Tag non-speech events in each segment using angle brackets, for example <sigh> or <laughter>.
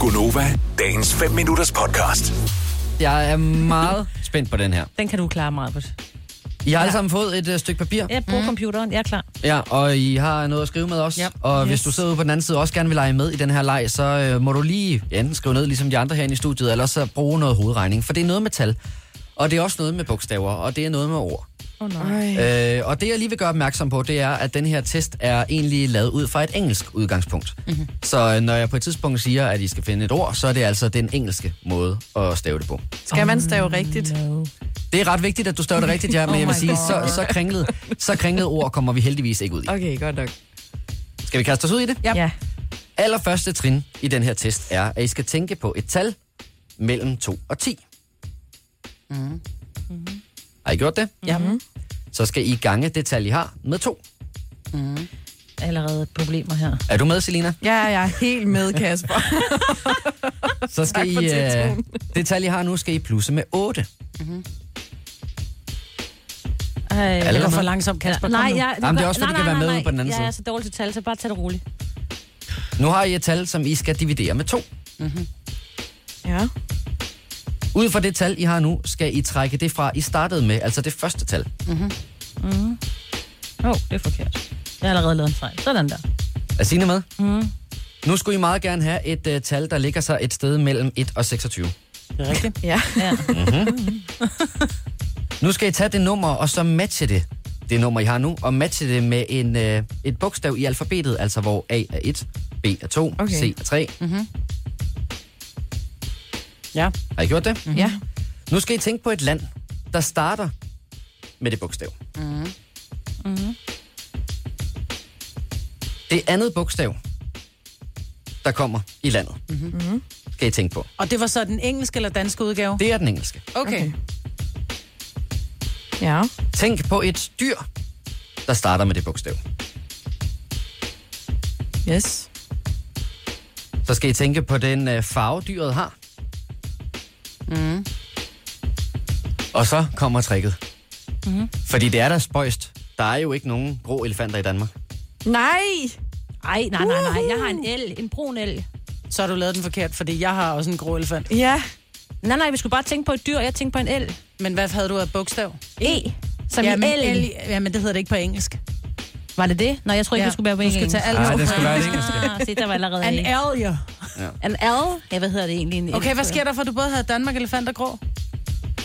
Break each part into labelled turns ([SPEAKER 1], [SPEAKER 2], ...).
[SPEAKER 1] Gunova, dagens 5 minutters podcast.
[SPEAKER 2] Jeg er meget <laughs> spændt på den her.
[SPEAKER 3] Den kan du klare meget på.
[SPEAKER 2] I har alle sammen fået et uh, stykke papir,
[SPEAKER 3] Jeg bruger mm. computeren, jeg er klar.
[SPEAKER 2] ja, og I har noget at skrive med os.
[SPEAKER 4] Yep.
[SPEAKER 2] Og yes. hvis
[SPEAKER 3] Yes.
[SPEAKER 2] du sidder ude på den anden side og også gerne vil lege med i den her leg, så uh, må du lige enten skrive ned, ligesom de andre herinde i studiet, eller så bruge noget hovedregning. For det er noget med tal, og det er også noget med bogstaver, og det er noget med ord.
[SPEAKER 3] Oh, nej.
[SPEAKER 2] Øh, og det, jeg lige vil gøre opmærksom på, det er, at den her test er egentlig lavet ud fra et engelsk udgangspunkt. Mm-hmm. Så øh, når jeg på et tidspunkt siger, at I skal finde et ord, så er det altså den engelske måde at stave det på.
[SPEAKER 5] Skal man stave rigtigt?
[SPEAKER 3] No.
[SPEAKER 2] Det er ret vigtigt, at du staver det rigtigt, ja, men
[SPEAKER 5] <laughs> Oh
[SPEAKER 2] jeg vil
[SPEAKER 5] my
[SPEAKER 2] sige,
[SPEAKER 5] God.
[SPEAKER 2] så, så, kringlet, så kringlet ord kommer vi heldigvis ikke ud i.
[SPEAKER 5] Okay, godt nok.
[SPEAKER 2] Skal vi kaste os ud i det?
[SPEAKER 3] Ja.
[SPEAKER 2] Allerførste trin i den her test er, at I skal tænke på et tal mellem 2 og 10. Mm. Har I gjort det?
[SPEAKER 4] Ja.
[SPEAKER 5] Mm-hmm.
[SPEAKER 2] Så skal I gange det tal, I har med 2.
[SPEAKER 3] Allerede problemer her.
[SPEAKER 2] Er du med, Selina?
[SPEAKER 5] <laughs> Ja, jeg er helt med, Kasper.
[SPEAKER 2] Så skal I,
[SPEAKER 5] for
[SPEAKER 2] øh,
[SPEAKER 5] tiltroen.
[SPEAKER 2] det tal, I har nu, skal I plusse med 8.
[SPEAKER 3] Ej,
[SPEAKER 2] Alle
[SPEAKER 4] Eller
[SPEAKER 2] med?
[SPEAKER 4] for langsomt, Kasper.
[SPEAKER 3] Nej,
[SPEAKER 4] kom nu.
[SPEAKER 3] jeg,
[SPEAKER 2] Jamen, det er også, fordi det kan være med på den anden
[SPEAKER 3] jeg
[SPEAKER 2] side.
[SPEAKER 3] Jeg er så dårlig til tal, så bare tag det roligt.
[SPEAKER 2] Nu har I et tal, som I skal dividere med 2.
[SPEAKER 5] <laughs> Ja.
[SPEAKER 2] Ud fra det tal, I har nu, skal I trække det fra, I startede med, altså det første tal.
[SPEAKER 3] Åh, oh, det er forkert. Jeg har allerede lavet en fejl. Sådan der.
[SPEAKER 2] Er Signe med? Mm. Nu skulle I meget gerne have et uh, tal, der ligger sig et sted mellem 1 og 26.
[SPEAKER 4] Det er rigtigt.
[SPEAKER 5] Ja.
[SPEAKER 3] Ja.
[SPEAKER 2] Nu skal I tage det nummer, og så matche det, det nummer, I har nu, og matche det med en, uh, et bogstav i alfabetet, altså hvor A er 1, B er 2, okay.
[SPEAKER 5] Okay.
[SPEAKER 2] C er 3. Mm.
[SPEAKER 4] Ja.
[SPEAKER 2] Har I gjort det? Mm.
[SPEAKER 5] Ja.
[SPEAKER 2] Nu skal I tænke på et land, der starter med det bogstav. Mm. Mm. Det andet bogstav, der kommer i landet, mm-hmm. skal I tænke på.
[SPEAKER 4] Og det var så den engelske eller danske udgave?
[SPEAKER 2] Det er den engelske.
[SPEAKER 5] Okay. Ja.
[SPEAKER 2] Tænk på et dyr, der starter med det bogstav.
[SPEAKER 5] Yes.
[SPEAKER 2] Så skal I tænke på den øh, farve, dyret har. Mm. Og så kommer tricket. Mm. Fordi det er da spøjst. Der er jo ikke nogen grå elefanter i Danmark.
[SPEAKER 5] Nej!
[SPEAKER 3] Ej, nej, nej, nej. Jeg har en el, en brun el.
[SPEAKER 4] Så har du lavet den forkert, fordi jeg har også en grå elefant.
[SPEAKER 5] Ja.
[SPEAKER 3] Nej, nej, vi skulle bare tænke på et dyr, jeg tænkte på en el.
[SPEAKER 4] Men hvad havde du af bogstav?
[SPEAKER 3] E, som ja, i
[SPEAKER 4] men,
[SPEAKER 3] el.
[SPEAKER 4] el- ja, men det hedder det ikke på engelsk.
[SPEAKER 3] Var det det? Nej, jeg tror ikke,
[SPEAKER 4] Ja.
[SPEAKER 3] ja. vi skulle være på
[SPEAKER 4] Du skal
[SPEAKER 3] engelsk.
[SPEAKER 4] tage alt Nej, det
[SPEAKER 2] skulle være det
[SPEAKER 3] Ah, se, der var allerede
[SPEAKER 4] An
[SPEAKER 3] en.
[SPEAKER 4] alger.
[SPEAKER 3] En al? Ja, hvad hedder det egentlig? En
[SPEAKER 4] Okay, hvad sker der for, at du både havde Danmark, elefant og grå?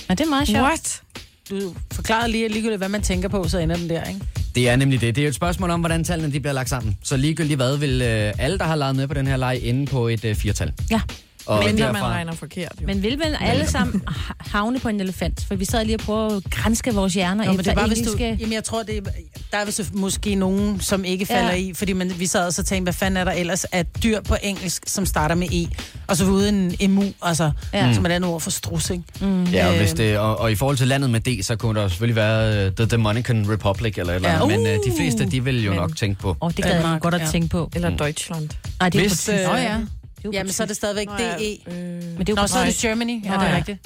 [SPEAKER 3] Men det er meget sjovt.
[SPEAKER 5] What?
[SPEAKER 4] Du forklarede lige ligegyldigt, hvad man tænker på, så ender den der, ikke?
[SPEAKER 2] Det er nemlig det. Det er jo et spørgsmål om, hvordan tallene de bliver lagt sammen. Så ligegyldigt hvad vil øh, alle, der har leget med på den her leg, inde på et øh, firtal.
[SPEAKER 3] Ja.
[SPEAKER 2] Og
[SPEAKER 5] Men når man regner forkert, jo.
[SPEAKER 3] Men vil vel alle sammen ha- havne på en elefant? For vi sad lige og prøvede at grænske vores hjerner
[SPEAKER 4] Nå, men det
[SPEAKER 3] efter
[SPEAKER 4] er bare, hvis du,
[SPEAKER 3] engelske...
[SPEAKER 4] jamen, jeg tror, det er, der er vist måske nogen, som ikke falder
[SPEAKER 3] Ja.
[SPEAKER 4] ja. i, fordi man, vi sad og så tænkte, hvad fanden er der ellers af dyr på engelsk, som starter med E, og så uden emu, altså,
[SPEAKER 3] Ja.
[SPEAKER 4] ja. som er et andet ord for strus, ikke? Mm.
[SPEAKER 2] Ja, og,
[SPEAKER 5] Øh.
[SPEAKER 2] hvis det, og, og i forhold til landet med D, så kunne der selvfølgelig være uh, The Dominican Republic eller et eller andet.
[SPEAKER 4] Ja.
[SPEAKER 2] Men øh, de
[SPEAKER 4] Uh,
[SPEAKER 2] fleste, de vil jo
[SPEAKER 5] men-
[SPEAKER 2] nok tænke på.
[SPEAKER 3] Åh, oh, det gad jeg
[SPEAKER 4] Danmark,
[SPEAKER 3] godt at
[SPEAKER 4] ja.
[SPEAKER 3] tænke på.
[SPEAKER 5] Eller Deutschland.
[SPEAKER 3] Nej, det er jo på
[SPEAKER 2] Hvis,
[SPEAKER 3] tysk.
[SPEAKER 4] Nå ja,
[SPEAKER 3] jo på
[SPEAKER 4] jamen så er
[SPEAKER 3] tysk.
[SPEAKER 4] det stadigvæk
[SPEAKER 5] Nå ja,
[SPEAKER 4] DE.
[SPEAKER 3] Men det er jo
[SPEAKER 4] Nå,
[SPEAKER 3] på
[SPEAKER 4] så er det
[SPEAKER 3] tysk.
[SPEAKER 4] Germany, ja,
[SPEAKER 3] Nå,
[SPEAKER 4] det
[SPEAKER 3] ja.
[SPEAKER 4] er rigtigt.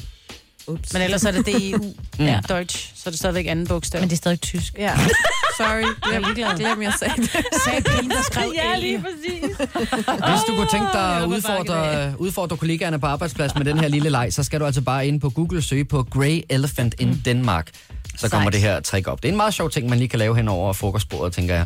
[SPEAKER 5] Ups.
[SPEAKER 4] Men ellers er det DEU,
[SPEAKER 3] Ja.
[SPEAKER 4] ja. Deutsch, så er det stadigvæk anden bogstav.
[SPEAKER 3] Men det er stadig tysk.
[SPEAKER 5] Ja. Sorry. <laughs> Jeg er ligeglad. Glem, jeg sagde det. <laughs>
[SPEAKER 4] sagde pigen, der skrev <laughs> ja, lige.
[SPEAKER 3] præcis.
[SPEAKER 2] Hvis du kunne tænke dig at
[SPEAKER 3] Ah, jeg var på bakke
[SPEAKER 2] udfordre, øh, udfordre kollegaerne på arbejdspladsen med den her lille leg, så skal du altså bare ind på Google søge på Grey Elephant in Denmark. Så kommer
[SPEAKER 3] Sejt.
[SPEAKER 2] det her trick op. Det er en meget sjov ting, man lige kan lave hen over frokostbordet, tænker jeg.